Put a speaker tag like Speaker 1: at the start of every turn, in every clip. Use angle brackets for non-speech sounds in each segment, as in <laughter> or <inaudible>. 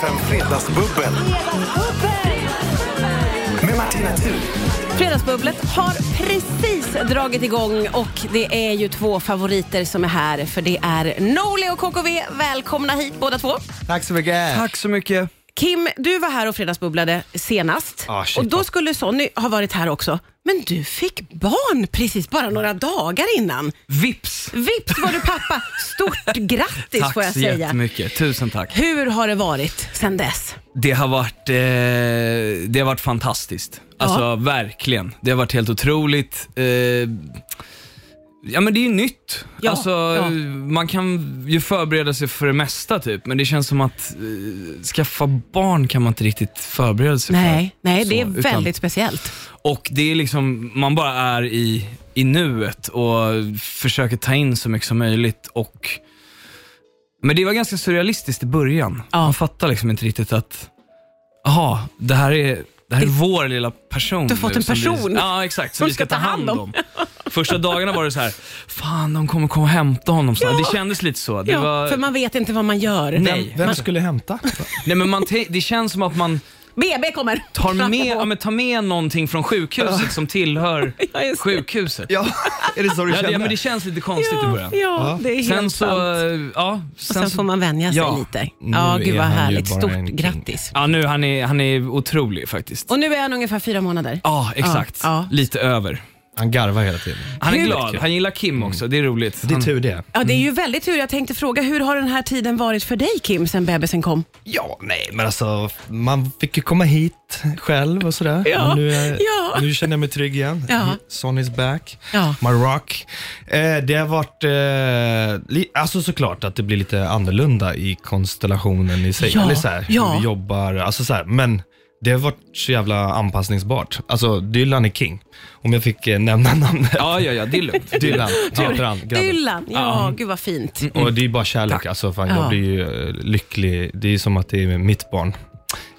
Speaker 1: Fredagsbubbel med Martina Thun.
Speaker 2: Fredagsbubblet har precis dragit igång och det är ju två favoriter som är här för det är Norli och KKV. Välkomna hit båda två.
Speaker 3: Tack så mycket.
Speaker 4: Tack så mycket.
Speaker 2: Kim, du var här och fredagsbubblade senast
Speaker 3: Ah, shit,
Speaker 2: och då
Speaker 3: vad-
Speaker 2: skulle Sonny ha varit här också. Men du fick barn precis bara några dagar innan.
Speaker 4: Vips!
Speaker 2: Vips var du pappa. Stort
Speaker 4: <laughs>
Speaker 2: grattis
Speaker 4: Tack
Speaker 2: får jag
Speaker 4: så
Speaker 2: säga.
Speaker 4: jättemycket. Tusen tack.
Speaker 2: Hur har det varit sen dess?
Speaker 4: Det har varit, eh, det har varit fantastiskt. Alltså
Speaker 2: Ja.
Speaker 4: verkligen. Det har varit helt otroligt. Eh, ja men det är ju nytt.
Speaker 2: Ja,
Speaker 4: alltså,
Speaker 2: ja.
Speaker 4: Man kan ju förbereda sig för det mesta typ, men det känns som att eh, skaffa barn kan man inte riktigt förbereda sig
Speaker 2: Nej, nej det är
Speaker 4: Så, utan-
Speaker 2: väldigt speciellt.
Speaker 4: för. Och det är liksom, man bara är i, i nuet och försöker ta in så mycket som möjligt. Och, men det var ganska surrealistiskt i början.
Speaker 2: Ja.
Speaker 4: Man fattar liksom inte riktigt att, jaha, det här är det här är vår lilla person.
Speaker 2: Du har fått
Speaker 4: nu
Speaker 2: en
Speaker 4: som
Speaker 2: person
Speaker 4: Vi, ja, exakt. Som
Speaker 2: som
Speaker 4: vi ska
Speaker 2: ska
Speaker 4: ta
Speaker 2: ta hand
Speaker 4: hand om. Första dagarna var det så här, fan de kommer komma och hämta honom snart. Det kändes lite så. Det
Speaker 2: Ja,
Speaker 4: var,
Speaker 2: För man vet inte vad man gör.
Speaker 4: Nej.
Speaker 3: Vem skulle hämta?
Speaker 4: nej, men man te- det känns som att man
Speaker 2: BB kommer.
Speaker 4: tar med, ja,
Speaker 2: Knacka på.
Speaker 4: men tar med någonting från sjukhuset som tillhör
Speaker 2: <laughs> Ja, just det.
Speaker 4: sjukhuset.
Speaker 3: Ja, är det så du
Speaker 4: Ja, det,
Speaker 3: känner?
Speaker 4: ja, men det känns lite konstigt i
Speaker 2: Ja,
Speaker 4: början.
Speaker 2: ja, det är helt
Speaker 4: Sen så,
Speaker 2: sant.
Speaker 4: ja.
Speaker 2: Och sen får man vänja sig
Speaker 4: ja.
Speaker 2: lite.
Speaker 3: Nu
Speaker 2: Ja, gud
Speaker 3: är
Speaker 2: vad
Speaker 3: han ju
Speaker 2: härligt.
Speaker 3: bara
Speaker 2: Stort
Speaker 3: en king.
Speaker 2: grattis.
Speaker 4: Ja, nu han är, han är otrolig faktiskt.
Speaker 2: Och nu är han ungefär fyra månader.
Speaker 4: Ja, exakt.
Speaker 2: Ja.
Speaker 4: Lite över.
Speaker 3: Han garvar hela tiden.
Speaker 4: Han är
Speaker 2: Kul.
Speaker 4: glad. Han gillar Kim också. Det är roligt.
Speaker 3: Det är
Speaker 4: Han-
Speaker 3: tur det.
Speaker 2: Ja, det är ju väldigt tur. Jag tänkte fråga, hur har den här tiden varit för dig Kim, sen bebisen kom?
Speaker 3: Ja, nej, men alltså man fick ju komma hit själv och sådär.
Speaker 2: Ja,
Speaker 3: Men nu, är,
Speaker 2: ja.
Speaker 3: nu känner jag mig trygg igen. Mm,
Speaker 2: Ja.
Speaker 3: Son is back.
Speaker 2: Ja.
Speaker 3: My rock. Eh, det har varit, eh, li- alltså såklart att det blir lite annorlunda i konstellationen i sig.
Speaker 2: Ja,
Speaker 3: Eller så här,
Speaker 2: ja.
Speaker 3: hur vi jobbar, alltså så här, men det har varit så jävla anpassningsbart. Alltså Dylan är king, om jag fick eh, nämna namnet.
Speaker 4: Ja, ja, ja. Det
Speaker 2: <laughs>
Speaker 4: är lugnt.
Speaker 3: <laughs> Dylan, heter han, grabben.
Speaker 2: Dylan, ja, gud vad fint.
Speaker 3: Och det är bara kärlek. Alltså, fan,
Speaker 2: Mm. Ja.
Speaker 3: Jag blir ju eh, lycklig. Det är som att det är mitt barn.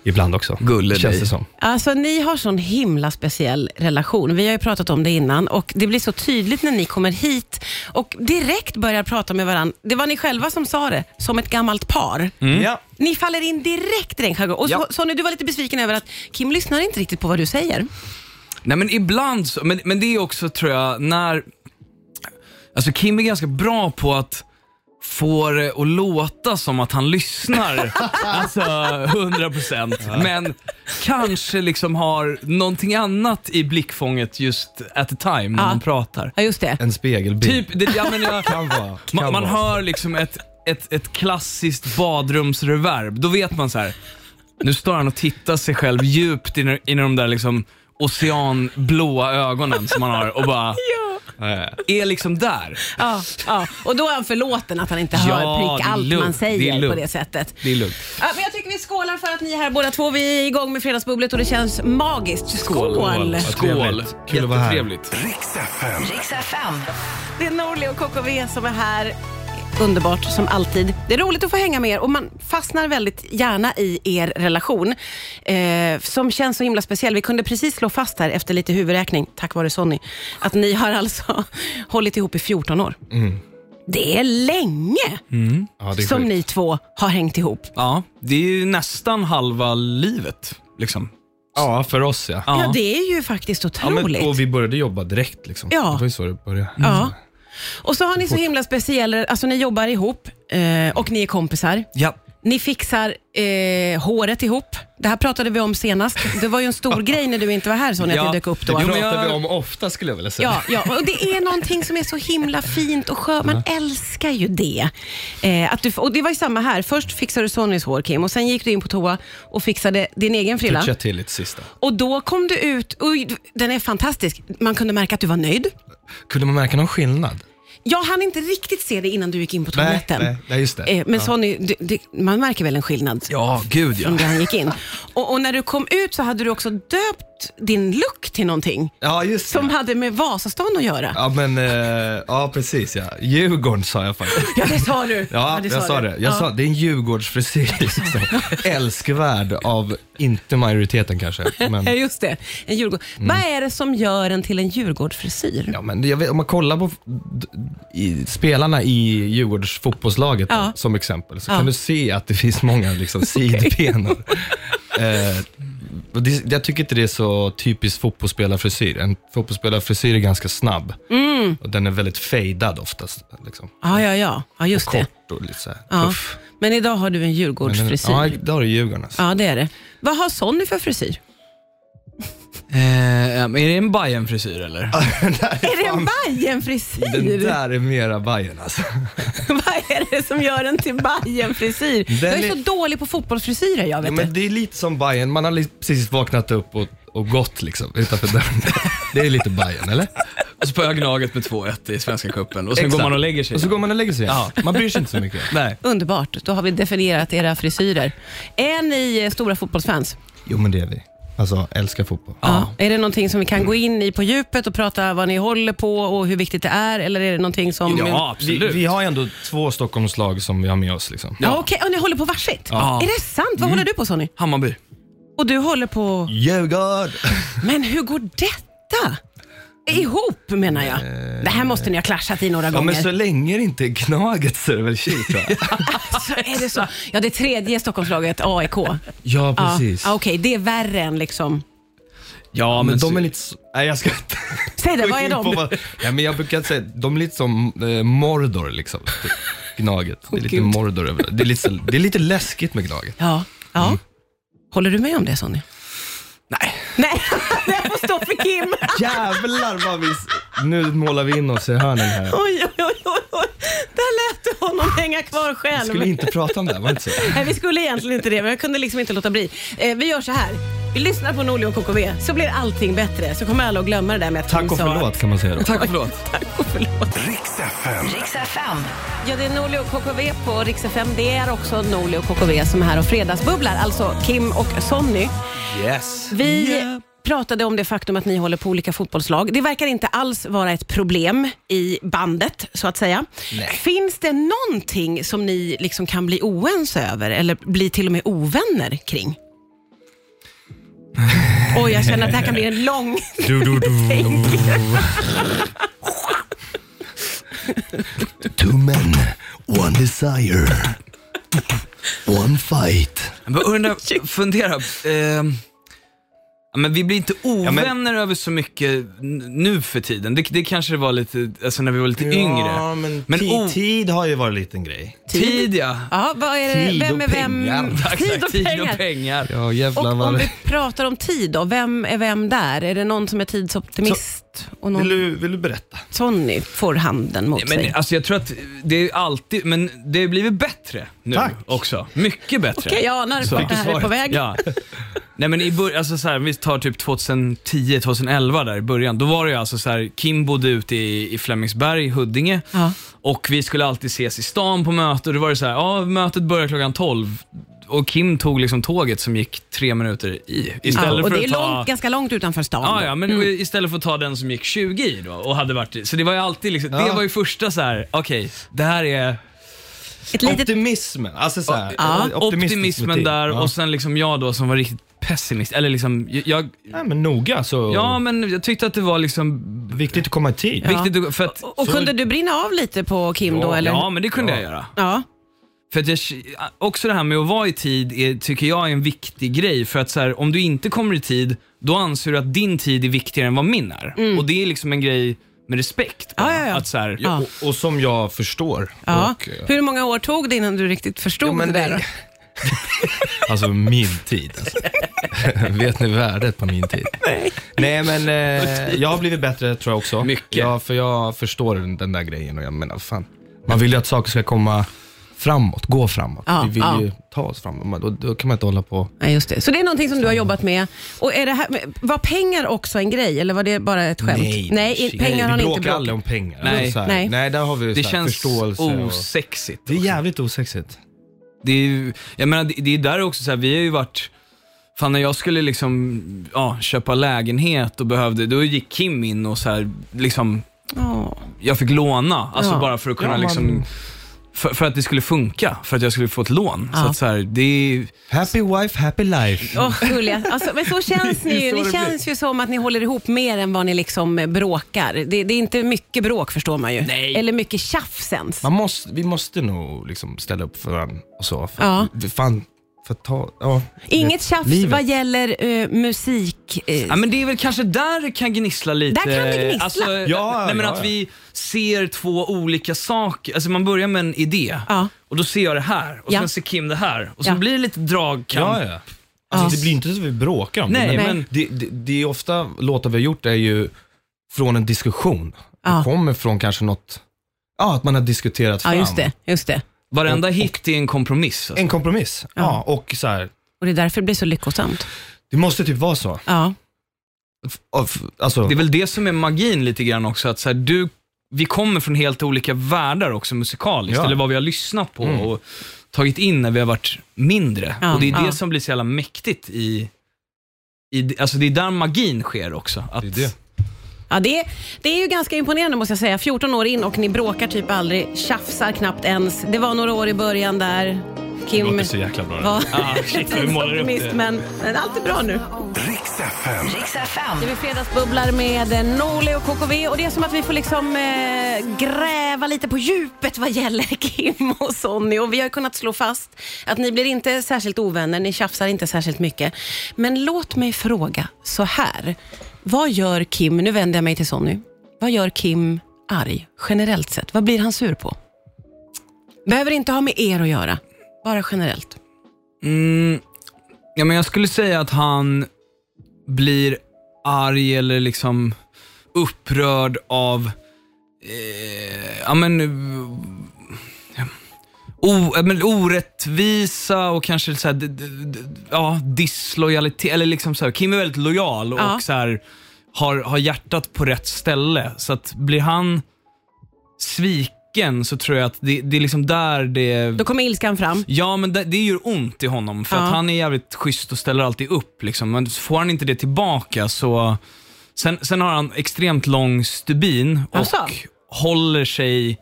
Speaker 3: Ibland också.
Speaker 4: Gulle
Speaker 3: Känns
Speaker 4: dig.
Speaker 3: det som.
Speaker 2: Alltså ni har sån himla speciell relation. Vi har ju pratat om det innan och det blir så tydligt när ni kommer hit och direkt börjar prata med varandra. Det var ni själva som sa det, som ett gammalt par.
Speaker 3: Ja.
Speaker 2: Ni faller in direkt i den jargongen. Och
Speaker 4: Ja.
Speaker 2: så, Sonny, du var lite besviken över att Kim lyssnar inte riktigt på vad du säger.
Speaker 4: Nej, men ibland så. Men, men det är också, tror jag, när... Alltså Kim är ganska bra på att få det att låta som att han lyssnar. alltså 100 procent. Men kanske liksom har någonting annat i blickfånget just at the time när
Speaker 2: Ja.
Speaker 4: man pratar.
Speaker 2: Ja, just det.
Speaker 3: En spegelbild.
Speaker 4: Typ, det, ja, men jag,
Speaker 3: Kan
Speaker 2: <laughs>
Speaker 3: vara. Kan
Speaker 4: man, man
Speaker 3: vara.
Speaker 4: hör liksom ett, ett, ett klassiskt badrumsreverb. Då vet man så här. nu står han och tittar sig själv djupt in i de där liksom oceanblåa ögonen som man har och bara
Speaker 3: Eh,
Speaker 4: är liksom där.
Speaker 2: Ja, ja. Och då är han förlåten att han inte hör
Speaker 4: Ja,
Speaker 2: prick
Speaker 4: det är
Speaker 2: allt
Speaker 4: lugnt.
Speaker 2: man
Speaker 4: Det är
Speaker 2: säger
Speaker 4: lugnt.
Speaker 2: på det sättet.
Speaker 4: Det är lugnt.
Speaker 2: Ja, men jag tycker vi skålar för att ni är här båda två. Vi är igång med Fredagsbubblet och det känns magiskt. Skål!
Speaker 3: Vad
Speaker 4: Skål!
Speaker 3: trevligt. Kul att vara här.
Speaker 4: Jättetrevligt.
Speaker 1: Riks FM.
Speaker 5: Riks FM.
Speaker 2: Det är Norli och KKV som är här. Underbart som alltid. Det är roligt att få hänga med er och man fastnar väldigt gärna i er relation eh, som känns så himla speciell. Vi kunde precis slå fast här efter lite huvudräkning, tack vare Sonny, att ni har alltså <laughs> hållit ihop i 14 år. Det är länge
Speaker 3: Ja, Mm. det är
Speaker 2: som
Speaker 3: sjukt.
Speaker 2: ni två har hängt ihop.
Speaker 4: Ja, det är ju nästan halva livet. Liksom.
Speaker 3: Ja, för oss ja.
Speaker 2: Ja. det är ju faktiskt
Speaker 3: ja men,
Speaker 2: otroligt.
Speaker 3: och vi började jobba direkt. Liksom.
Speaker 2: Ja.
Speaker 3: Det var ju så det började. Mm.
Speaker 2: Ja. Och så har ni så himla speciella, alltså ni jobbar ihop eh, och ni är kompisar.
Speaker 4: Ja.
Speaker 2: Ni fixar eh, håret ihop. Det här pratade vi om senast. Det var ju en
Speaker 3: <laughs>
Speaker 2: stor grej när du inte var här Sonja, att
Speaker 4: Ja,
Speaker 2: det dök upp
Speaker 3: Det
Speaker 2: då.
Speaker 4: Jo,
Speaker 3: pratar
Speaker 4: men jag-
Speaker 3: vi om ofta skulle jag vilja säga.
Speaker 2: Ja, ja, och det är någonting som är så himla fint och skönt. Man älskar ju det. Eh, att du, och Det var ju samma här. Först fixade du Sonys hår, Kim, och sen gick du in på toa och fixade din egen frilla.
Speaker 3: Toucha till lite sista.
Speaker 2: Och då kom du ut, och den är fantastisk. Man kunde märka att du var nöjd.
Speaker 3: Kunde man märka någon skillnad?
Speaker 2: Jag hann inte riktigt se det innan du gick in på
Speaker 3: Nej,
Speaker 2: toaletten.
Speaker 3: nej, nej, just det.
Speaker 2: Eh, Men Sonny, du, du, man märker väl en skillnad?
Speaker 4: ja, gud ja.
Speaker 2: från där han gick in. Och, och när du kom ut så hade du också döpt din look till någonting
Speaker 3: Ja, just
Speaker 2: som
Speaker 3: det.
Speaker 2: hade med Vasastan att göra.
Speaker 3: Ja, men, eh, ja, precis ja. Djurgården sa jag faktiskt.
Speaker 2: Ja, det sa du.
Speaker 3: Ja,
Speaker 2: det
Speaker 3: jag sa
Speaker 2: du.
Speaker 3: det. Jag
Speaker 2: Ja. <laughs>
Speaker 3: sa, det är en Djurgårdsfrisyr. liksom. Älskvärd av Inte majoriteten kanske. Men... Mm.
Speaker 2: Ja, just det. En Djurgård. Vad är det som gör en till en Djurgårdsfrisyr?
Speaker 3: Ja, men jag vet, om man kollar på d- i, spelarna i Djurgårds fotbollslaget då,
Speaker 2: Ja.
Speaker 3: som exempel, så
Speaker 2: Ja.
Speaker 3: kan du se att det finns många
Speaker 2: <laughs>
Speaker 3: liksom, sidbenor. eh, och det, jag tycker inte det är så typiskt fotbollsspelarfrisyr. En fotbollsspelarfrisyr är ganska snabb
Speaker 2: Mm.
Speaker 3: och den är väldigt fejdad oftast. Liksom.
Speaker 2: Ja, ja, ja. ja just det.
Speaker 3: Kort och lite så här,
Speaker 2: Ja.
Speaker 3: tuff.
Speaker 2: Men idag har du en
Speaker 3: Men den-
Speaker 2: Djurgårdsfrisyr.
Speaker 3: Ja, där har du Djurgården. Alltså.
Speaker 2: Ja, det är det. Vad har Sonny för frisyr?
Speaker 4: Eh, ja, men är det en bayern frisyr eller?
Speaker 3: <laughs>
Speaker 2: Är det en
Speaker 3: Den
Speaker 2: Bajenfrisyr?
Speaker 3: där är mera Bajen alltså.
Speaker 2: <laughs> Vad är det som gör en till Bajenfrisyr? Jag är
Speaker 3: är-
Speaker 2: så dålig på fotbollsfrisyrer jag
Speaker 3: Ja,
Speaker 2: vet
Speaker 3: men
Speaker 2: du.
Speaker 3: det är lite som Bayern. man har li- precis vaknat upp och, och gått liksom utanför dörren. <laughs> Det är lite Bayern eller?
Speaker 4: Och så Alltså, på Gnaget med 2-1 i Svenska Cupen och sen går
Speaker 3: Exakt.
Speaker 4: man och lägger sig.
Speaker 3: Och så går man och lägger sig igen. Man bryr sig inte så mycket.
Speaker 4: <laughs> Nej.
Speaker 2: Underbart, då har vi definierat era frisyrer. Är ni eh, stora fotbollsfans?
Speaker 3: Jo men det är vi. Alltså, älskar fotboll.
Speaker 2: Ja. Är det någonting som vi kan gå in i på djupet och prata vad ni håller på och hur viktigt det är? Eller är det någonting som...
Speaker 4: Ja,
Speaker 3: Vi,
Speaker 4: absolut.
Speaker 3: vi har ju ändå två Stockholmslag som vi har med oss liksom.
Speaker 2: Ja, Okej, och ni håller på varsitt?
Speaker 4: Ja.
Speaker 2: Är det sant?
Speaker 3: Mm.
Speaker 2: Vad håller du på Sonny?
Speaker 4: Hammarby.
Speaker 2: Och du håller på...
Speaker 3: Djurgård!
Speaker 2: Men hur går detta ihop menar jag? Det här måste ni ha klaschat i några
Speaker 3: Eh. Ja
Speaker 2: gånger.
Speaker 3: men så länge det inte är Gnaget så är det väl Kil tror jag.
Speaker 2: <laughs> Alltså, är det så? Ja, det tredje Stockholmslaget, AIK. Ja,
Speaker 3: Ja precis.
Speaker 2: Ja, Okej, det är värre än liksom...
Speaker 4: Ja,
Speaker 3: Men de är lite... s- Nej jag ska inte...
Speaker 2: Säg det, vad är
Speaker 3: gå in på
Speaker 2: de?
Speaker 3: vad- Ja, men jag brukar säga, de är lite som eh, Mordor liksom. Typ, Gnaget. Det är lite
Speaker 2: Gud.
Speaker 3: Mordor över det. Är lite, så- det är lite läskigt med Gnaget.
Speaker 2: Ja. ja.
Speaker 3: Mm.
Speaker 2: Håller du med om det Sonny?
Speaker 4: Nej.
Speaker 2: Nej, <laughs> det här får stå för Kim.
Speaker 3: Jävlar vad vi... Nu målar vi in oss i hörnen här.
Speaker 2: Oj, oj, oj, oj, oj. Där lät du honom hänga kvar själv.
Speaker 3: Skulle vi inte prata om det här, var det inte så?
Speaker 2: Nej, vi skulle egentligen inte det, men jag kunde liksom inte låta bli. Eh, vi gör så här. Vi lyssnar på Norli och KKV, så blir allting bättre. Så kommer alla att glömma det där med att
Speaker 3: Tack
Speaker 2: Kim
Speaker 3: och
Speaker 2: sa-
Speaker 3: förlåt kan man säga då.
Speaker 4: Tack och förlåt.
Speaker 2: Tack och förlåt.
Speaker 1: Riks FM.
Speaker 5: Riks FM.
Speaker 2: Ja, det är Norli och KKV på Rix FM. Det är också Norli och KKV som är här och fredagsbubblar, alltså Kim och Sonny.
Speaker 3: Yes.
Speaker 2: Vi pratade om det faktum att ni håller på olika fotbollslag. Det verkar inte alls vara ett problem i bandet, så att säga. Finns det någonting som ni liksom kan bli oense över eller bli till och med ovänner
Speaker 3: <laughs>
Speaker 2: kring? Oj, jag känner att det här kan bli en lång...
Speaker 3: Du,
Speaker 2: <laughs>
Speaker 3: du, du.
Speaker 1: Two men, one desire, one fight.
Speaker 4: Jag bara undrar, fundera. ehm, ja, men vi blir inte ovänner över så mycket n- nu för tiden. Det, det kanske det var lite, alltså när vi var lite yngre.
Speaker 3: Ja, men,
Speaker 4: Men
Speaker 3: ti-
Speaker 4: o-
Speaker 3: tid har ju varit en liten grej.
Speaker 4: Tid ja.
Speaker 2: Ja, vad är det?
Speaker 3: Tid och
Speaker 2: Vem är vem?
Speaker 3: pengar.
Speaker 4: Tack,
Speaker 2: Tid
Speaker 4: tack.
Speaker 2: och
Speaker 4: Tid och
Speaker 2: pengar.
Speaker 4: pengar.
Speaker 3: Ja,
Speaker 2: Och
Speaker 3: jävlar
Speaker 2: om
Speaker 3: vad...
Speaker 2: vi pratar om tid då, vem är vem där? Är det någon som är tidsoptimist och
Speaker 3: Vill
Speaker 2: någon
Speaker 3: du, vill du berätta?
Speaker 2: Sonny får handen mot sig?
Speaker 4: Men alltså jag tror att det är alltid, men det har blivit bättre nu
Speaker 3: Tack.
Speaker 4: också. Mycket bättre.
Speaker 2: Okej, jag anar vart det här är på väg.
Speaker 4: Ja. Nej men i början, alltså så här, vi tar typ 2010, 2011 där i början. Då var det ju alltså så här, Kim bodde ute i, i Flemingsberg, Huddinge.
Speaker 2: Ja.
Speaker 4: Och vi skulle alltid ses i stan på möte och då var det så här, ja mötet börjar klockan 12. Och Kim tog liksom tåget som gick tre minuter i. Istället
Speaker 2: Ja, och
Speaker 4: för
Speaker 2: det är
Speaker 4: att ta...
Speaker 2: långt, ganska långt utanför stan.
Speaker 4: Ja,
Speaker 2: då. Mm.
Speaker 4: ja, men istället för att ta den som gick 20 i då och hade varit i. Så det var ju alltid liksom, det
Speaker 3: Ja.
Speaker 4: var ju första så här, okej, det här är
Speaker 2: Ett litet,
Speaker 3: Optimismen, alltså så här,
Speaker 2: Ja.
Speaker 3: optimistiskt
Speaker 4: optimismen
Speaker 3: motiv.
Speaker 4: där
Speaker 3: Ja.
Speaker 4: och sen liksom jag då som var riktigt pessimist. Eller liksom, jag,
Speaker 3: Ja, men noga så...
Speaker 4: ja men jag tyckte att det var liksom
Speaker 3: Viktigt att komma i tid.
Speaker 2: Ja.
Speaker 4: viktigt att- för att,
Speaker 2: och, och kunde du brinna av lite på Kim då? Eller?
Speaker 4: Ja, men det kunde jag göra.
Speaker 2: Ja.
Speaker 4: För att jag, också det här med att vara i tid är, tycker jag är en viktig grej. För att så här, om du inte kommer i tid, då anser du att din tid är viktigare än vad min är. Och det är liksom en grej med respekt. bara.
Speaker 2: Ja, ja, ja.
Speaker 4: Att så här,
Speaker 2: Ja.
Speaker 3: Och, och som jag förstår.
Speaker 2: Ja.
Speaker 3: Och, eh,
Speaker 2: Hur många år tog det innan du riktigt förstod
Speaker 3: Ja, men
Speaker 2: det där?
Speaker 3: det-
Speaker 2: då?
Speaker 3: <laughs> alltså min tid. Alltså. <laughs> Vet ni värdet på
Speaker 2: <laughs>
Speaker 3: min tid? Nej. Nej men eh, jag har blivit bättre tror jag också.
Speaker 4: Mycket.
Speaker 3: Ja, för jag förstår den, den där grejen och jag menar fan. Man vill ju att saker ska komma framåt, gå framåt.
Speaker 2: Ja,
Speaker 3: Vi vill
Speaker 2: ja.
Speaker 3: ju ta oss framåt. Men Då, då kan man inte hålla på.
Speaker 2: Nej, just det. Så det är någonting som du har jobbat med. Och är det här, var pengar också en grej eller var det bara ett skämt? Nej
Speaker 3: shit.
Speaker 2: pengar har
Speaker 3: vi
Speaker 2: ni inte
Speaker 3: bråkar
Speaker 2: bråkat
Speaker 3: aldrig om pengar.
Speaker 4: Nej.
Speaker 3: Så här,
Speaker 2: Nej.
Speaker 3: Nej, där har vi
Speaker 4: det
Speaker 3: så här,
Speaker 4: känns
Speaker 3: förståelse. Och...
Speaker 4: osexigt.
Speaker 3: Det är jävligt osexigt.
Speaker 4: Det är ju, jag menar, det, det är där också så här, vi har ju varit, fan när jag skulle liksom, ja, köpa lägenhet och behövde, då gick Kim in och så här, liksom,
Speaker 2: Ja.
Speaker 4: jag fick låna, alltså
Speaker 2: Ja.
Speaker 4: bara för att kunna
Speaker 3: Ja, man-
Speaker 4: liksom för, för att det skulle funka, för att jag skulle få ett lån. Så
Speaker 2: Ja.
Speaker 4: att så här, det är,
Speaker 3: Happy wife, happy life.
Speaker 2: Åh, Julia. Alltså, men så känns ni ju. Ni känns ju som att ni håller ihop mer än vad ni liksom bråkar. Det, det är inte mycket bråk förstår man ju.
Speaker 4: Nej.
Speaker 2: Eller mycket tjafs ens.
Speaker 3: Man måste, vi måste nog liksom ställa upp för varandra och så. För,
Speaker 2: Ja.
Speaker 3: vi- Fan, för att ta, ja.
Speaker 2: Inget tjafs
Speaker 3: Livet.
Speaker 2: vad gäller eh, musik. eh,
Speaker 4: ja, men det är väl kanske där det kan gnissla lite.
Speaker 2: Där kan det gnissla.
Speaker 4: Alltså,
Speaker 3: Ja,
Speaker 4: nej, men
Speaker 3: ja,
Speaker 4: att
Speaker 3: ja.
Speaker 4: vi ser två olika saker. Alltså man börjar med en idé
Speaker 2: Ja.
Speaker 4: och då ser jag det här och
Speaker 2: Ja.
Speaker 4: sen ser Kim det här och
Speaker 2: Ja.
Speaker 4: sen blir det lite dragkamp.
Speaker 3: Ja, ja. Alltså, Det blir inte så att vi bråkar om
Speaker 4: Nej,
Speaker 3: det,
Speaker 4: men-
Speaker 3: det, det, det är ofta låtar vi har gjort är ju från en diskussion.
Speaker 2: Ja.
Speaker 3: Det kommer från kanske något, ja, att man har diskuterat
Speaker 2: ja,
Speaker 3: fram.
Speaker 2: just det, just det.
Speaker 4: Varenda hit är en kompromiss. Alltså.
Speaker 3: En kompromiss. Ja. och så här,
Speaker 2: Och det är därför det blir så lyckosamt.
Speaker 3: det måste typ vara så.
Speaker 2: Ja.
Speaker 3: F- av- Alltså,
Speaker 4: Det är väl det som är magin lite grann också, att så här, du, vi kommer från helt olika världar också musikaliskt,
Speaker 3: Ja.
Speaker 4: eller vad vi har lyssnat på
Speaker 3: Mm.
Speaker 4: och tagit in när vi har varit mindre.
Speaker 2: Ja,
Speaker 4: och det är det
Speaker 2: ja.
Speaker 4: som blir så jävla mäktigt i, i, alltså det är där magin sker också. Att,
Speaker 3: Det är det.
Speaker 2: Ja, det, det är ju ganska imponerande måste jag säga. 14 år in och ni bråkar typ aldrig, tjafsar knappt ens. Det var några år i början där.
Speaker 3: det
Speaker 2: Kim
Speaker 3: låter så jävla bra.
Speaker 2: var
Speaker 4: Ah, shit, vad vi målar upp
Speaker 2: optimist,
Speaker 4: det.
Speaker 2: men, men allt är bra nu.
Speaker 1: Riks FM.
Speaker 5: Riks FM.
Speaker 2: Det är vi fredagsbubblar med eh, Norli och KKV och det är som att vi får liksom eh, gräva lite på djupet vad gäller <laughs> Kim och Sonny och vi har kunnat slå fast att ni blir inte särskilt ovänner, ni tjafsar inte särskilt mycket. Men låt mig fråga så här, vad gör Kim, nu vänder jag mig till Sonny, vad gör Kim arg generellt sett? Vad blir han sur på? Behöver inte ha med er att göra, bara generellt.
Speaker 4: Mm, ja, men jag skulle säga att han blir arg eller liksom upprörd av eh, ja, men, eh, o, ja, men orättvisa och kanske så här, d, d, d, ja, dislojalitet. Eller liksom så här, Kim är väldigt lojal och
Speaker 2: Ja.
Speaker 4: så här, har, har hjärtat på rätt ställe. Så att blir han sviken så tror jag att det, det är liksom där det...
Speaker 2: Då kommer ilskan fram.
Speaker 4: Ja, men det, det gör ont i honom för
Speaker 2: Ja.
Speaker 4: att han är jävligt schysst och ställer alltid upp. Liksom. Men får han inte det tillbaka så... Sen, sen har han extremt lång stubin och
Speaker 2: Jaså?
Speaker 4: håller sig...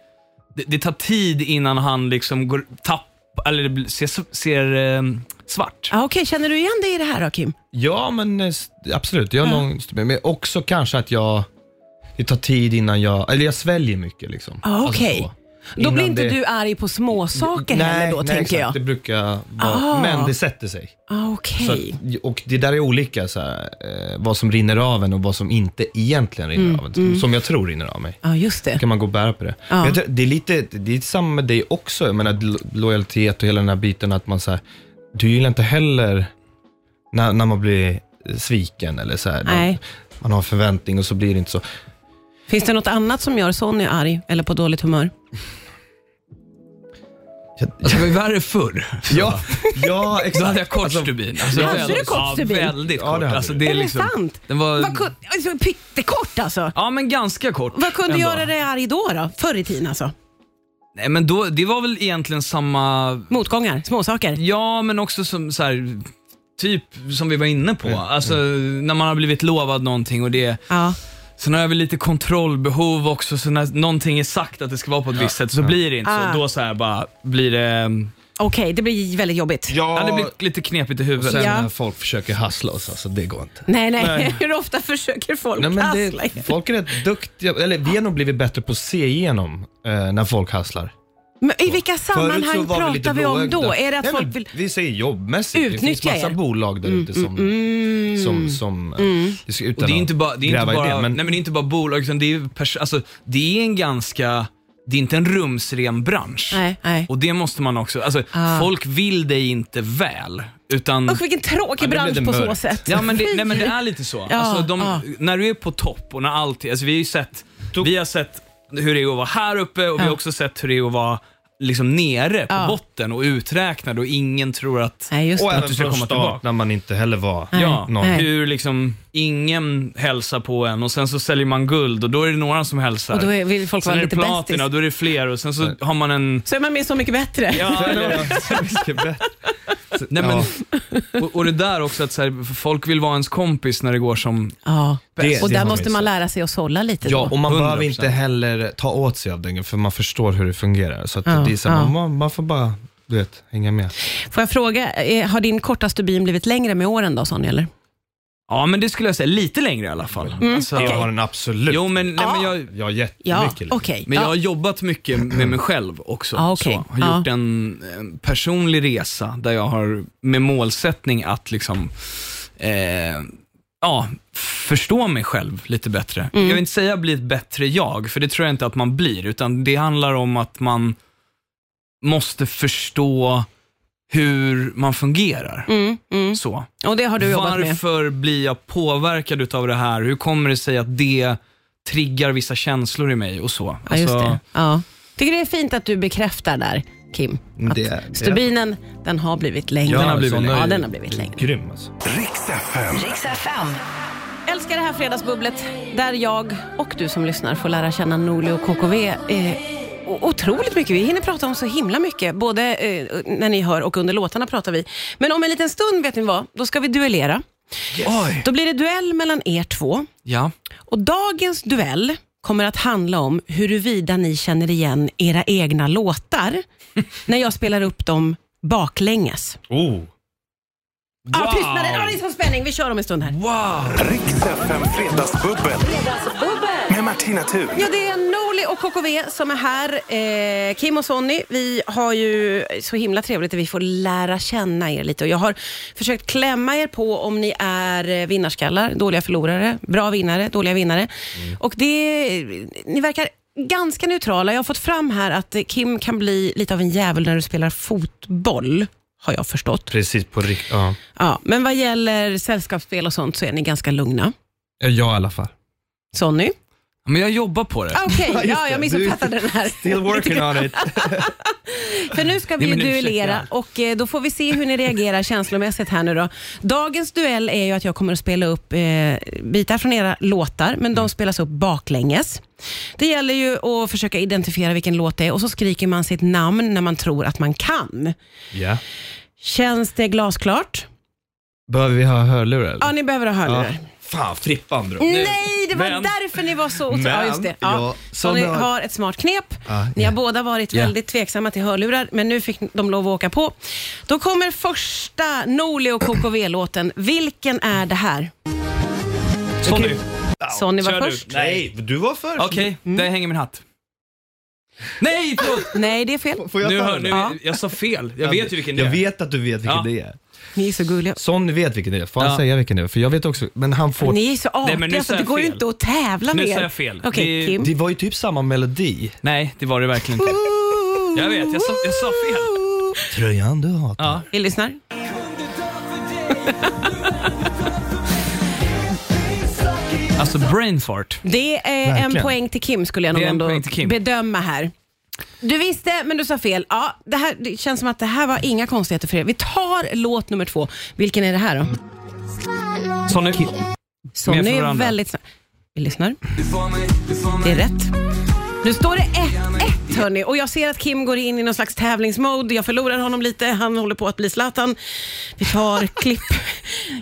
Speaker 4: Det, det tar tid innan han liksom går tapp, eller det blir- ser, ser eh, svart.
Speaker 2: Ah, Okej, känner du igen dig i det här då Kim?
Speaker 3: Ja, men eh, s- absolut. Jag har någon, men också kanske att jag, det tar tid innan jag, eller jag sväljer mycket liksom.
Speaker 2: Ah, okej.
Speaker 3: så.
Speaker 2: Då
Speaker 3: Innan
Speaker 2: blir inte
Speaker 3: det-
Speaker 2: du arg på småsaker heller då, tänker
Speaker 3: exakt.
Speaker 2: jag.
Speaker 3: Det brukar vara,
Speaker 2: Ah.
Speaker 3: men det sätter sig.
Speaker 2: Ah, Okej.
Speaker 3: Så att, och det där är olika, så här, eh, vad som rinner av en och vad som inte egentligen rinner
Speaker 2: Mm,
Speaker 3: av en. Som jag tror rinner av mig.
Speaker 2: Ja, just det.
Speaker 3: kan man gå och bära på det.
Speaker 2: Ja.
Speaker 3: Men Jag tror, det, är lite, det är samma med dig också, jag menar lo- lojalitet och hela den här biten att man så här, du gillar inte heller när, när man blir sviken eller så här,
Speaker 2: Nej.
Speaker 3: man har förväntning och så blir det inte så.
Speaker 2: Finns det något annat som gör Sonny arg eller på dåligt humör?
Speaker 4: Alltså, det var ju värre förr.
Speaker 2: <laughs>
Speaker 3: Ja, ja
Speaker 4: Då
Speaker 3: exakt.
Speaker 4: hade jag kort stubin. Alltså,
Speaker 2: Hade
Speaker 4: väldigt-
Speaker 2: du kort stubin?
Speaker 4: Ja, väldigt
Speaker 3: Ja, det
Speaker 4: kort.
Speaker 3: hade
Speaker 4: alltså,
Speaker 3: du.
Speaker 4: det
Speaker 2: Är
Speaker 4: är
Speaker 2: det
Speaker 4: liksom,
Speaker 2: sant?
Speaker 4: Den var,
Speaker 2: Vad kun- alltså, pyttekort alltså.
Speaker 4: ja, men ganska kort.
Speaker 2: Vad kunde
Speaker 4: ändå.
Speaker 2: göra dig arg då, då? Förr i tiden alltså?
Speaker 4: Nej, men då, det var väl egentligen samma
Speaker 2: Motgångar, småsaker.
Speaker 4: Ja, men också som så här, typ som vi var inne på. Alltså när man har blivit lovad någonting och det
Speaker 2: Ja.
Speaker 4: Sen har jag väl lite kontrollbehov också, så när någonting är sagt att det ska vara på ett visst sätt så blir det inte
Speaker 2: Ah.
Speaker 4: så. Då så här bara blir det,
Speaker 2: Okej, det blir väldigt jobbigt.
Speaker 4: ja. det
Speaker 3: Ja,
Speaker 4: blir lite knepigt i huvudet.
Speaker 3: sen
Speaker 2: Ja.
Speaker 3: när folk försöker hassla oss, alltså, det går inte.
Speaker 2: Nej, nej. <laughs> Hur ofta försöker folk
Speaker 3: Nej, men
Speaker 2: hassla
Speaker 3: det,
Speaker 2: er?
Speaker 3: folk är rätt duktiga, eller vi har nog blivit bättre på att se igenom eh, när folk hasslar.
Speaker 2: Men I vilka
Speaker 3: Förut så
Speaker 2: sammanhang
Speaker 3: var lite
Speaker 2: pratar vi om då?
Speaker 3: blåögda.
Speaker 2: Är det att
Speaker 3: Nej, men
Speaker 2: folk vill...
Speaker 3: Vi säger jobbmässigt. det
Speaker 2: Utnyttja
Speaker 3: finns massa
Speaker 2: er. Mm,
Speaker 3: bolag där ute som... som, som eh, det ska- utan
Speaker 4: Och det är
Speaker 3: att
Speaker 4: inte bara, det är inte
Speaker 3: gräva i
Speaker 4: bara,
Speaker 3: det, men,
Speaker 4: nej, men det är inte bara bolag, utan det är, ju pers- alltså, det är en ganska, det är inte en rumsren bransch.
Speaker 2: Nej, nej.
Speaker 4: Och det måste man också, alltså,
Speaker 2: Ah.
Speaker 4: folk vill dig inte väl. Utan,
Speaker 2: Usch, vilken tråkig
Speaker 3: Ja, det blev
Speaker 2: bransch
Speaker 3: det
Speaker 2: på så
Speaker 3: mörkt.
Speaker 2: sätt.
Speaker 4: Ja
Speaker 2: <laughs>
Speaker 4: men det, nej, men det är lite så.
Speaker 2: Ja,
Speaker 4: alltså, de,
Speaker 2: ja.
Speaker 4: När du är på topp och när allt, alltså, vi har ju sett, vi har sett hur det är att vara här uppe och vi
Speaker 2: Ja.
Speaker 4: har också sett hur det är att vara liksom nere på
Speaker 2: Ja.
Speaker 4: botten och uträknad och ingen tror att...
Speaker 2: Nej, just
Speaker 3: och
Speaker 2: det.
Speaker 3: även
Speaker 4: du ska
Speaker 3: från
Speaker 4: komma
Speaker 3: start
Speaker 4: tillbaka.
Speaker 3: när man inte heller var
Speaker 4: Ja,
Speaker 3: någon.
Speaker 2: Nej.
Speaker 4: hur liksom ingen hälsar på en och sen så säljer man guld och då är det några som hälsar.
Speaker 2: Och då är- vill folk
Speaker 4: sen
Speaker 2: vara
Speaker 4: är det
Speaker 2: lite bästis.
Speaker 4: platina och då är det fler och sen så har man en...
Speaker 3: <laughs>
Speaker 4: <laughs>
Speaker 2: Så är man med Så mycket bättre.
Speaker 4: Ja, eller-
Speaker 3: Så mycket bättre.
Speaker 4: Nej, men, och, och det där också att så här, folk vill vara ens kompis när det går som...
Speaker 2: Ja.
Speaker 3: Det-
Speaker 2: och
Speaker 3: det
Speaker 2: där
Speaker 3: har
Speaker 2: måste
Speaker 3: vi
Speaker 2: man
Speaker 3: sett.
Speaker 2: lära sig att sålla lite.
Speaker 3: Ja,
Speaker 2: då.
Speaker 3: och man
Speaker 4: 100%.
Speaker 3: behöver inte heller ta åt sig av den, för man förstår hur det fungerar. Så att
Speaker 2: Ja,
Speaker 3: det är så här,
Speaker 2: ja.
Speaker 3: man, man får bara, du vet, hänga med.
Speaker 2: Får jag fråga, eh, har din korta stubin blivit längre med åren då Sonja? Eller?
Speaker 4: Ja, men det skulle jag säga. Lite längre i alla fall.
Speaker 2: Mm.
Speaker 4: Alltså,
Speaker 3: Jag har den absolut.
Speaker 4: Jo, men, nej, men jag,
Speaker 3: Jag har
Speaker 2: Ja,
Speaker 3: jättemycket.
Speaker 2: okej.
Speaker 3: liksom.
Speaker 4: Men jag
Speaker 2: ja.
Speaker 4: har jobbat mycket med mig själv också.
Speaker 2: Ja, okej.
Speaker 4: så. Har gjort
Speaker 2: Ja.
Speaker 4: en, en personlig resa där jag har med målsättning att liksom, eh, ja, förstå mig själv lite
Speaker 2: Mm.
Speaker 4: bättre. Jag vill inte säga bli ett bättre jag, för det tror jag inte att man blir, utan det handlar om att man måste förstå hur man fungerar.
Speaker 2: Mm, mm.
Speaker 4: Så.
Speaker 2: Och det har du jobbat med?
Speaker 4: Varför blir jag påverkad utav det här? Hur kommer det sig att det triggar vissa känslor i mig och så?
Speaker 2: Ja, just
Speaker 4: Alltså,
Speaker 2: det. Ja. Tycker det är fint att du bekräftar där, Kim. Att
Speaker 3: Det- det-
Speaker 2: stubinen, den har blivit längre.
Speaker 3: Ja,
Speaker 4: Den har blivit
Speaker 3: sån är
Speaker 4: längre.
Speaker 2: Ja,
Speaker 3: ju
Speaker 2: den har blivit längre.
Speaker 3: Grym alltså.
Speaker 1: Riks FM.
Speaker 5: Riks FM.
Speaker 2: Älskar det här fredagsbubblet där jag och du som lyssnar får lära känna Norli och KKV. Eh, o- Otroligt mycket. Vi hinner prata om så himla mycket. Både eh, när ni hör och under låtarna pratar vi. Men om en liten stund, vet ni vad? Då ska vi duellera.
Speaker 4: Oj.
Speaker 2: Då blir det duell mellan er två.
Speaker 4: Ja.
Speaker 2: Och dagens duell kommer att handla om huruvida ni känner igen era egna låtar när jag spelar upp dem baklänges.
Speaker 3: Oh.
Speaker 2: Ah, tystnaden! Ah, det är så spänning. Vi kör om en stund här.
Speaker 4: Wow!
Speaker 1: Riks FM Fredagsbubbel. Med Martina Thun.
Speaker 2: Ja, det är Norli och KKV som är här. Eh, Kim och Sonny, vi har ju så himla trevligt att vi får lära känna er lite. Och jag har försökt klämma er på om ni är eh, vinnarskallar, dåliga förlorare, bra vinnare, dåliga vinnare. Och det, ni verkar ganska neutrala. Jag har fått fram här att eh, Kim kan bli lite av en djävul när du spelar fotboll, har jag förstått.
Speaker 3: Precis på riktigt. Ja.
Speaker 2: Ja, men vad gäller sällskapsspel och sånt så är ni ganska lugna.
Speaker 3: Ja, Jag i alla fall. <laughs>
Speaker 2: Sonny?
Speaker 4: Men jag jobbar på det.
Speaker 2: Ah, Okej, ja,
Speaker 3: det.
Speaker 2: jag
Speaker 3: Du-
Speaker 2: missuppfattade den här.
Speaker 3: Still working on it.
Speaker 2: För nu ska vi
Speaker 4: Nej,
Speaker 2: ju
Speaker 4: men ursäkta.
Speaker 2: duellera och eh, då får vi se hur ni reagerar känslomässigt här nu då. Dagens duell är ju att jag kommer att spela upp eh, bitar från era låtar, men de spelas upp baklänges. Det gäller ju att försöka identifiera vilken låt det är och så skriker man sitt namn när man tror att man kan.
Speaker 3: Ja.
Speaker 2: Känns det glasklart?
Speaker 3: Behöver vi ha hörlurar eller?
Speaker 2: Ja, ni behöver ha hörlurar.
Speaker 3: Fan, Frippan
Speaker 2: Mm.
Speaker 3: drog.
Speaker 2: Nej, det var
Speaker 4: Men-
Speaker 2: därför ni var så otroliga.
Speaker 3: Men-
Speaker 2: Ja, just det. Ja.
Speaker 3: Ja,
Speaker 2: Så
Speaker 3: som
Speaker 2: ni
Speaker 3: jag-
Speaker 2: har ett smart knep.
Speaker 3: Ja,
Speaker 2: Ni
Speaker 3: ja.
Speaker 2: har båda varit
Speaker 3: Ja.
Speaker 2: väldigt tveksamma till hörlurar, men nu fick de lov att åka på. Då kommer första Norli och KKV-låten. Vilken är det här?
Speaker 4: Sonny.
Speaker 2: Sonny var
Speaker 4: Kör du.
Speaker 2: först.
Speaker 3: Nej, du var först.
Speaker 4: Okej,
Speaker 2: Mm.
Speaker 4: där hänger min hatt. Nej, förlåt!
Speaker 2: Nej, det är fel.
Speaker 3: Får jag
Speaker 4: Nu
Speaker 3: ta
Speaker 4: hör,
Speaker 3: den?
Speaker 4: nu,
Speaker 2: Ja.
Speaker 4: jag sa fel. Jag vet ju vilken det
Speaker 3: Jag
Speaker 4: är.
Speaker 3: vet att du vet vilken
Speaker 4: Ja.
Speaker 3: det är.
Speaker 2: Ni är så gulliga.
Speaker 3: Son vet vilken det är. Får han
Speaker 4: Ja.
Speaker 3: säga vilken det är? För jag vet också, men han får...
Speaker 2: Ni är så
Speaker 4: men nu
Speaker 2: artiga så
Speaker 4: sa
Speaker 2: det
Speaker 4: jag
Speaker 2: går ju
Speaker 4: fel.
Speaker 2: inte att tävla
Speaker 4: Nu
Speaker 2: med
Speaker 4: sa
Speaker 2: er.
Speaker 4: jag fel.
Speaker 2: Okej,
Speaker 4: Det-
Speaker 2: Kim.
Speaker 3: Det var ju typ samma melodi.
Speaker 4: Nej, det var det verkligen inte. Jag vet, jag sa, jag sa fel.
Speaker 3: Tröjan du hatar.
Speaker 4: Ja.
Speaker 2: Vi lyssnar.
Speaker 4: Alltså brain fart.
Speaker 2: Det är en
Speaker 3: Verkligen.
Speaker 2: poäng till Kim skulle jag nog
Speaker 4: Det är en
Speaker 2: ändå
Speaker 4: poäng till Kim.
Speaker 2: bedöma här. Du visste, men du sa fel. Ja, det, här, det känns som att det här var inga konstigheter för er. Vi tar låt nummer två. Vilken är det här då?
Speaker 4: Sonny.
Speaker 2: Som
Speaker 4: Mm.
Speaker 2: ni
Speaker 4: Mer för
Speaker 2: är
Speaker 4: varandra.
Speaker 2: väldigt snabb. Vi lyssnar. Det är rätt. Nu står det 1-1 hörni och jag ser att Kim går in i någon slags tävlingsmode. Jag förlorar honom lite, han håller på att bli Zlatan. Vi tar klipp.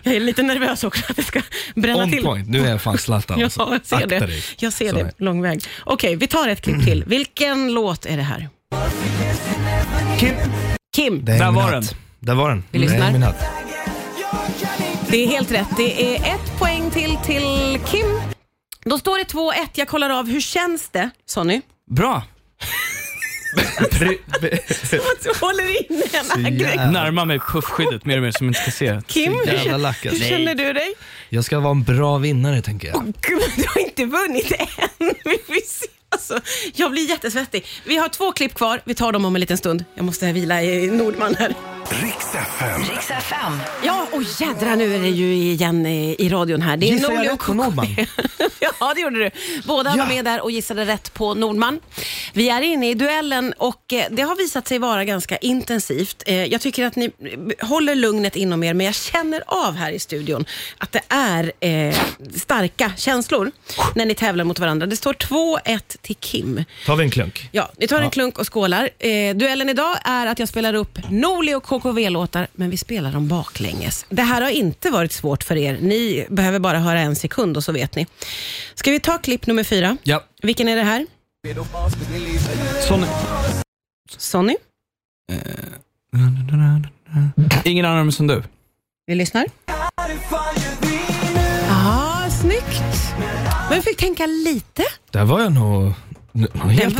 Speaker 2: Jag är lite nervös också att det ska bränna
Speaker 3: On
Speaker 2: till.
Speaker 3: point. Nu är jag
Speaker 4: <laughs>
Speaker 3: fan Zlatan
Speaker 2: Ja,
Speaker 3: alltså.
Speaker 2: jag ser
Speaker 3: Akta
Speaker 2: det.
Speaker 3: dig.
Speaker 2: Jag ser
Speaker 3: Så
Speaker 2: det.
Speaker 3: här.
Speaker 2: Lång väg. Okej, vi tar ett klipp till. Vilken låt är det här?
Speaker 3: Kim.
Speaker 2: Kim,
Speaker 3: är
Speaker 4: Där
Speaker 3: min
Speaker 4: var
Speaker 3: hatt.
Speaker 4: den.
Speaker 3: Där var den.
Speaker 2: Vi lyssnar.
Speaker 3: Det är min hatt.
Speaker 2: det är helt rätt. Det är ett poäng till till Kim. Då står det 2-1. Jag kollar av. Hur känns det, Sonny?
Speaker 4: Bra.
Speaker 2: Du håller inne en aggression.
Speaker 3: jävla-
Speaker 4: Närma mig puffskyddet mer och mer som inte ska se.
Speaker 2: Kim, hur
Speaker 3: jävla
Speaker 2: känner-
Speaker 3: lack, alltså.
Speaker 2: hur känner du dig?
Speaker 3: <laughs> Jag ska vara en bra vinnare tänker jag.
Speaker 2: Gud, du har inte vunnit än. <laughs> Vi får se. Alltså, jag blir jättesvettig. Vi har två klipp kvar. Vi tar dem om en liten stund. Jag måste vila i Nordman här.
Speaker 1: Riks FM.
Speaker 5: Riks FM.
Speaker 2: Ja, och jädra nu är det ju igen i, i radion här. Det är
Speaker 3: Gissar jag
Speaker 2: Norli
Speaker 3: rätt
Speaker 2: och
Speaker 3: på Nordman?
Speaker 2: <laughs> ja, det gjorde du. Båda
Speaker 3: Ja.
Speaker 2: var med där och gissade rätt på Nordman. Vi är inne i duellen och eh, det har visat sig vara ganska intensivt. Eh, Jag tycker att ni eh, håller lugnet inom er, men jag känner av här i studion att det är eh, starka känslor när ni tävlar mot varandra. Det står 2-1 till Kim.
Speaker 3: Tar vi en klunk?
Speaker 2: Ja, ni tar en klunk och skålar. Eh, duellen idag är att jag spelar upp Norli och KKV KKV-låtar, men vi spelar dem baklänges. Det här har inte varit svårt för er. Ni behöver bara höra en sekund och så vet ni. Ska vi ta klipp nummer fyra?
Speaker 4: Ja.
Speaker 2: Vilken är det här?
Speaker 4: Sonny.
Speaker 2: Sonny,
Speaker 4: Ingen annan som du.
Speaker 2: vi lyssnar. Ja, snyggt. Men vi fick tänka lite.
Speaker 3: Där var jag nog någon helt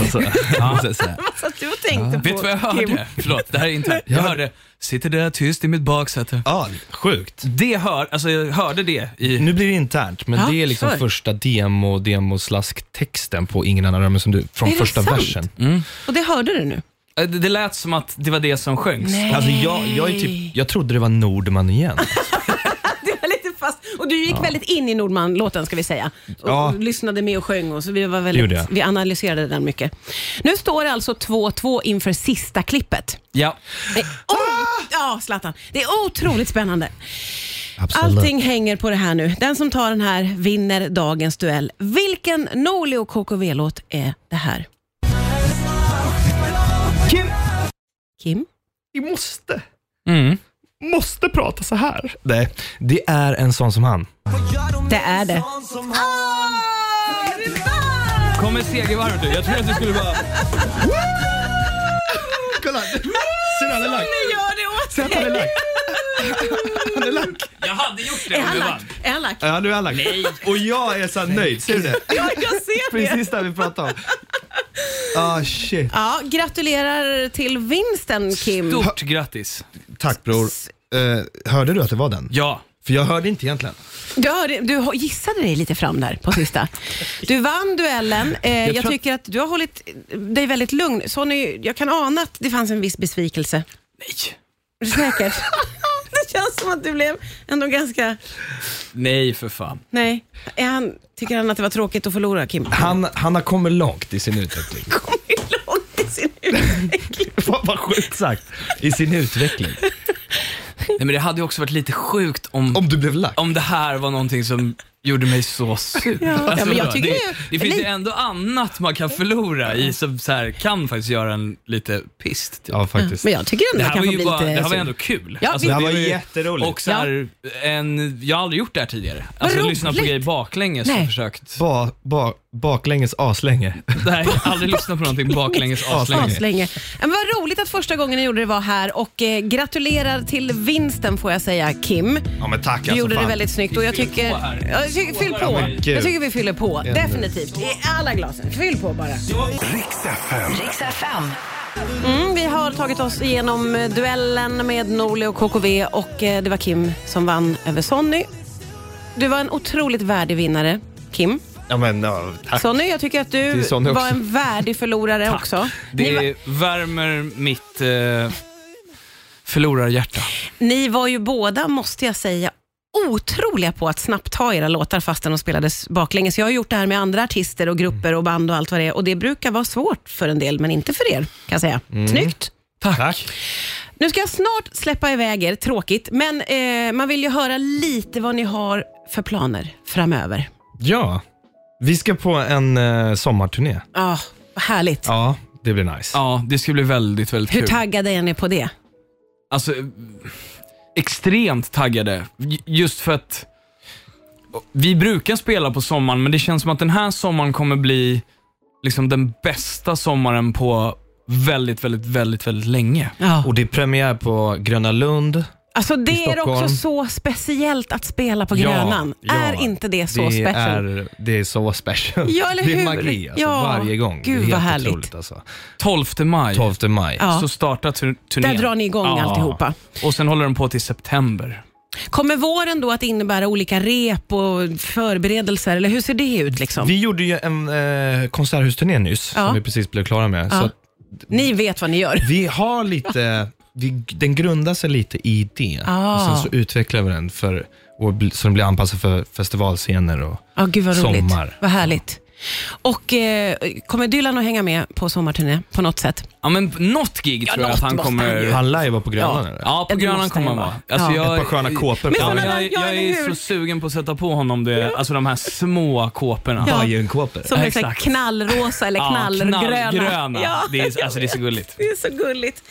Speaker 2: <laughs>
Speaker 3: alltså. måste jag säga.
Speaker 2: Så att du tänkte på
Speaker 4: Vet du vad jag hörde? Förlåt, det här är inte... Jag hörde, sitter där tyst i mitt baksäte.
Speaker 3: Ja, sjukt.
Speaker 4: Det hör, alltså jag hörde det i...
Speaker 3: Nu blir det internt, men
Speaker 2: Ja,
Speaker 3: det är liksom
Speaker 2: kör.
Speaker 3: första demo, demoslasktexten på Ingen annan römmer som du, från
Speaker 2: Är det
Speaker 3: första
Speaker 2: sant?
Speaker 3: versen.
Speaker 4: Mm.
Speaker 2: Och det hörde du nu?
Speaker 4: Äh, Det, det lät som att det var det som sjöngs.
Speaker 3: Alltså jag, jag, är typ, jag trodde det var Nordman igen.
Speaker 2: Det var <laughs> lite fast. Och du gick väldigt in i Nordman-låten ska vi säga. Och
Speaker 3: Ja.
Speaker 2: lyssnade med och sjöng och så vi, var
Speaker 3: gjorde
Speaker 2: väldigt,
Speaker 3: jag.
Speaker 2: vi analyserade den mycket. Nu står det alltså 2-2 inför sista klippet.
Speaker 4: Ja.
Speaker 2: Det är o-
Speaker 3: Ah!
Speaker 2: Ja, Zlatan. Det är otroligt spännande.
Speaker 3: Absolut.
Speaker 2: Allting hänger på det här nu. Den som tar den här vinner dagens duell. Vilken Norli och KKV-låt är det här?
Speaker 3: Kim,
Speaker 2: Kim?
Speaker 3: <laughs> vi måste,
Speaker 4: Mm.
Speaker 3: måste prata så här. Nej, det är en sån som han.
Speaker 2: Det är det. Ah,
Speaker 4: Kommer segervarvet nu. Jag trodde att du skulle bara...
Speaker 3: Kolla, ser han är lack?
Speaker 2: Gör det åt
Speaker 3: Ser att han är lack? <laughs> Han är lack.
Speaker 4: Jag hade gjort det
Speaker 2: Är han lack? Är han lack?
Speaker 3: Ja, du är lack. Och jag är så här nöjd, ser du <laughs> det?
Speaker 2: Ja, jag
Speaker 4: <laughs>
Speaker 2: ser det.
Speaker 3: Precis där vi pratade om. Ah shit.
Speaker 2: Ja, gratulerar till vinsten Kim.
Speaker 4: Stort grattis.
Speaker 5: Tack bror. Eh, hörde du att det var den?
Speaker 4: Ja.
Speaker 3: För jag hörde inte egentligen.
Speaker 2: Du, hörde, du har- gissade dig lite fram där på sista. Du vann duellen. Eh, jag
Speaker 4: tror-
Speaker 2: tycker att du har hållit dig väldigt lugn. Sonny, jag kan ana att det fanns en viss besvikelse.
Speaker 4: Nej.
Speaker 2: Är du Säkert. <laughs> det känns som att du blev ändå ganska...
Speaker 4: Nej, för fan.
Speaker 2: Nej. Är han, tycker han att det var tråkigt att förlora Kim?
Speaker 3: Han, han har kommit långt i sin utveckling.
Speaker 2: Kom långt i
Speaker 4: <laughs>
Speaker 2: sin utveckling.
Speaker 3: <laughs> Vad vad sjukt sagt. I sin utveckling.
Speaker 4: Nej, men det hade ju också varit lite sjukt om, om...
Speaker 3: Om du blev lack.
Speaker 4: det här var någonting som gjorde mig så sur. Alltså,
Speaker 2: Ja, ja, men jag
Speaker 4: det,
Speaker 2: tycker
Speaker 4: det,
Speaker 2: ju-
Speaker 4: finns ju
Speaker 2: li-
Speaker 4: ändå annat man kan förlora i som så här, kan faktiskt göra en lite pist. Typ.
Speaker 3: Ja, faktiskt.
Speaker 2: Men jag tycker ändå
Speaker 4: Det
Speaker 2: jag
Speaker 4: här, var
Speaker 2: kanske
Speaker 4: ju
Speaker 2: blir
Speaker 4: bara,
Speaker 2: lite...
Speaker 4: det här var
Speaker 2: sur.
Speaker 4: ju ändå kul. Alltså,
Speaker 2: Ja, vi-
Speaker 3: Det här var
Speaker 4: ju-
Speaker 3: jätteroligt.
Speaker 4: Och så här, en, jag har aldrig gjort det här tidigare. Alltså
Speaker 2: roligt.
Speaker 4: lyssnat på grejer baklänges
Speaker 2: Nej.
Speaker 4: och försökt.
Speaker 3: Ba, ba, baklänges aslänge.
Speaker 4: <laughs> Nej, aldrig lyssnat på någonting baklänges aslänge.
Speaker 2: Aslänge. Men vad roligt att första gången ni gjorde det var här och eh, gratulerar till vinsten får jag säga Kim.
Speaker 3: <laughs> Ja men tack alltså
Speaker 2: Du gjorde det väldigt snyggt och jag
Speaker 4: Fyll
Speaker 2: tycker...
Speaker 4: på här.
Speaker 2: Ja, jag tycker fyll på.
Speaker 3: men gud.
Speaker 2: Jag tycker vi fyller på. Definitivt. I alla glasen. Fyll på bara.
Speaker 1: Riks FM.
Speaker 6: Riks FM.
Speaker 2: Mm, vi har tagit oss igenom eh, duellen med Norli och KKV och eh, det var Kim som vann över Sonny. Du var en otroligt värdig vinnare. Kim.
Speaker 3: Ja men ja, tack.
Speaker 2: Sonny, jag tycker att
Speaker 3: Till
Speaker 2: du
Speaker 3: Sonny också.
Speaker 2: var en värdig förlorare också. Ni var,
Speaker 4: Det värmer mitt eh, förlorarhjärta.
Speaker 2: ni var ju båda, måste jag säga, otroliga på att snabbt ta era låtar fastän de spelades baklänges. Jag har gjort det här med andra artister och grupper och band och allt vad det är och det brukar vara svårt för en del, men inte för er kan jag säga.
Speaker 3: Mm.
Speaker 2: Snyggt!
Speaker 4: Tack.
Speaker 2: Nu ska jag snart släppa iväg er, tråkigt, men eh, man vill ju höra lite vad ni har för planer framöver.
Speaker 3: Ja. Vi ska på en eh, sommarturné.
Speaker 2: Ja, vad härligt.
Speaker 3: Ja, det blir nice.
Speaker 4: Ja, det ska bli väldigt, väldigt
Speaker 2: Hur
Speaker 4: kul.
Speaker 2: taggade är ni på det?
Speaker 4: alltså, eh, extremt taggade. J- Just för att vi brukar spela på sommaren, men det känns som att den här sommaren kommer bli liksom den bästa sommaren på väldigt, väldigt, väldigt, väldigt länge.
Speaker 2: Ja.
Speaker 3: Och det är premiär på Gröna Lund.
Speaker 2: Alltså det är
Speaker 3: Stockholm.
Speaker 2: också så speciellt att spela på Grönan. Är inte det så
Speaker 3: det
Speaker 2: special?
Speaker 3: Är, det är så special.
Speaker 2: Ja, eller
Speaker 3: det är
Speaker 2: hur?
Speaker 3: magi alltså,
Speaker 2: Ja.
Speaker 3: varje gång.
Speaker 2: Gud,
Speaker 3: det är helt
Speaker 2: vad härligt.
Speaker 3: otroligt alltså.
Speaker 4: 12 maj
Speaker 3: 12 maj.
Speaker 2: Ja.
Speaker 4: så startar tur- turnén.
Speaker 2: Där drar ni igång
Speaker 4: Ja.
Speaker 2: alltihopa.
Speaker 4: Och sen håller den på till september.
Speaker 2: Kommer våren då att innebära olika rep och förberedelser, eller hur ser det ut? liksom?
Speaker 3: Vi gjorde ju en eh, konserthusturné nyss,
Speaker 2: Ja.
Speaker 3: som vi precis blev klara med.
Speaker 2: Ja.
Speaker 3: Så att
Speaker 2: Ni vet vad ni gör.
Speaker 3: vi har lite, vi, den grundar sig lite i det.
Speaker 2: Ah.
Speaker 3: Och sen så utvecklar vi den för, och, bl- så den blir anpassad för festivalscener. Och,
Speaker 2: Ja, gud vad roligt.
Speaker 3: Sommar.
Speaker 2: Vad härligt. Och eh, kommer Dylan att hänga med på sommarturné på något sätt?
Speaker 4: Ja, men något gig tror jag
Speaker 2: något
Speaker 4: att han
Speaker 2: måste han
Speaker 4: kommer...
Speaker 2: ju.
Speaker 3: Han lär ju vara på Grönan
Speaker 4: ja.
Speaker 3: eller?
Speaker 4: ja, på
Speaker 2: Ja, det
Speaker 4: Grönan
Speaker 2: måste
Speaker 4: kommer
Speaker 2: han
Speaker 4: han
Speaker 2: ju
Speaker 4: vara.
Speaker 2: vara.
Speaker 4: Alltså,
Speaker 2: Ja.
Speaker 4: jag,
Speaker 3: Ett par sköna kåpor.
Speaker 2: Men
Speaker 4: Ja, men
Speaker 2: sådana där-
Speaker 4: jag,
Speaker 2: ja,
Speaker 4: jag
Speaker 2: eller
Speaker 4: är
Speaker 2: hur?
Speaker 4: så sugen på att sätta på honom det, alltså de här små kåporna.
Speaker 2: Ja.
Speaker 3: Bajenkåpor.
Speaker 2: Som är
Speaker 4: Ja,
Speaker 2: så här
Speaker 4: exakt.
Speaker 2: knallrosa
Speaker 4: <laughs>
Speaker 2: eller knallgröna.
Speaker 4: knallgröna.
Speaker 2: Ja.
Speaker 4: Det, är, alltså, det är så gulligt.
Speaker 2: <laughs> Det är så gulligt.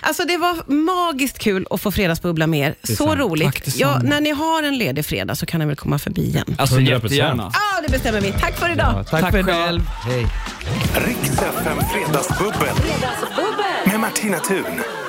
Speaker 2: Alltså det var magiskt kul att få fredagsbubbla med er. Så
Speaker 4: Tack
Speaker 2: roligt.
Speaker 4: detsamma.
Speaker 2: Ja, när ni har en ledig fredag så kan ni väl komma förbi igen.
Speaker 4: Alltså
Speaker 3: 100%.
Speaker 4: jättegärna.
Speaker 2: Ja, det bestämmer vi. Tack för idag.
Speaker 5: Tack,
Speaker 4: Tack
Speaker 5: för idag.
Speaker 4: själv.
Speaker 5: Hej.
Speaker 1: Riks FM Fredagsbubbel. Med Martina Thun.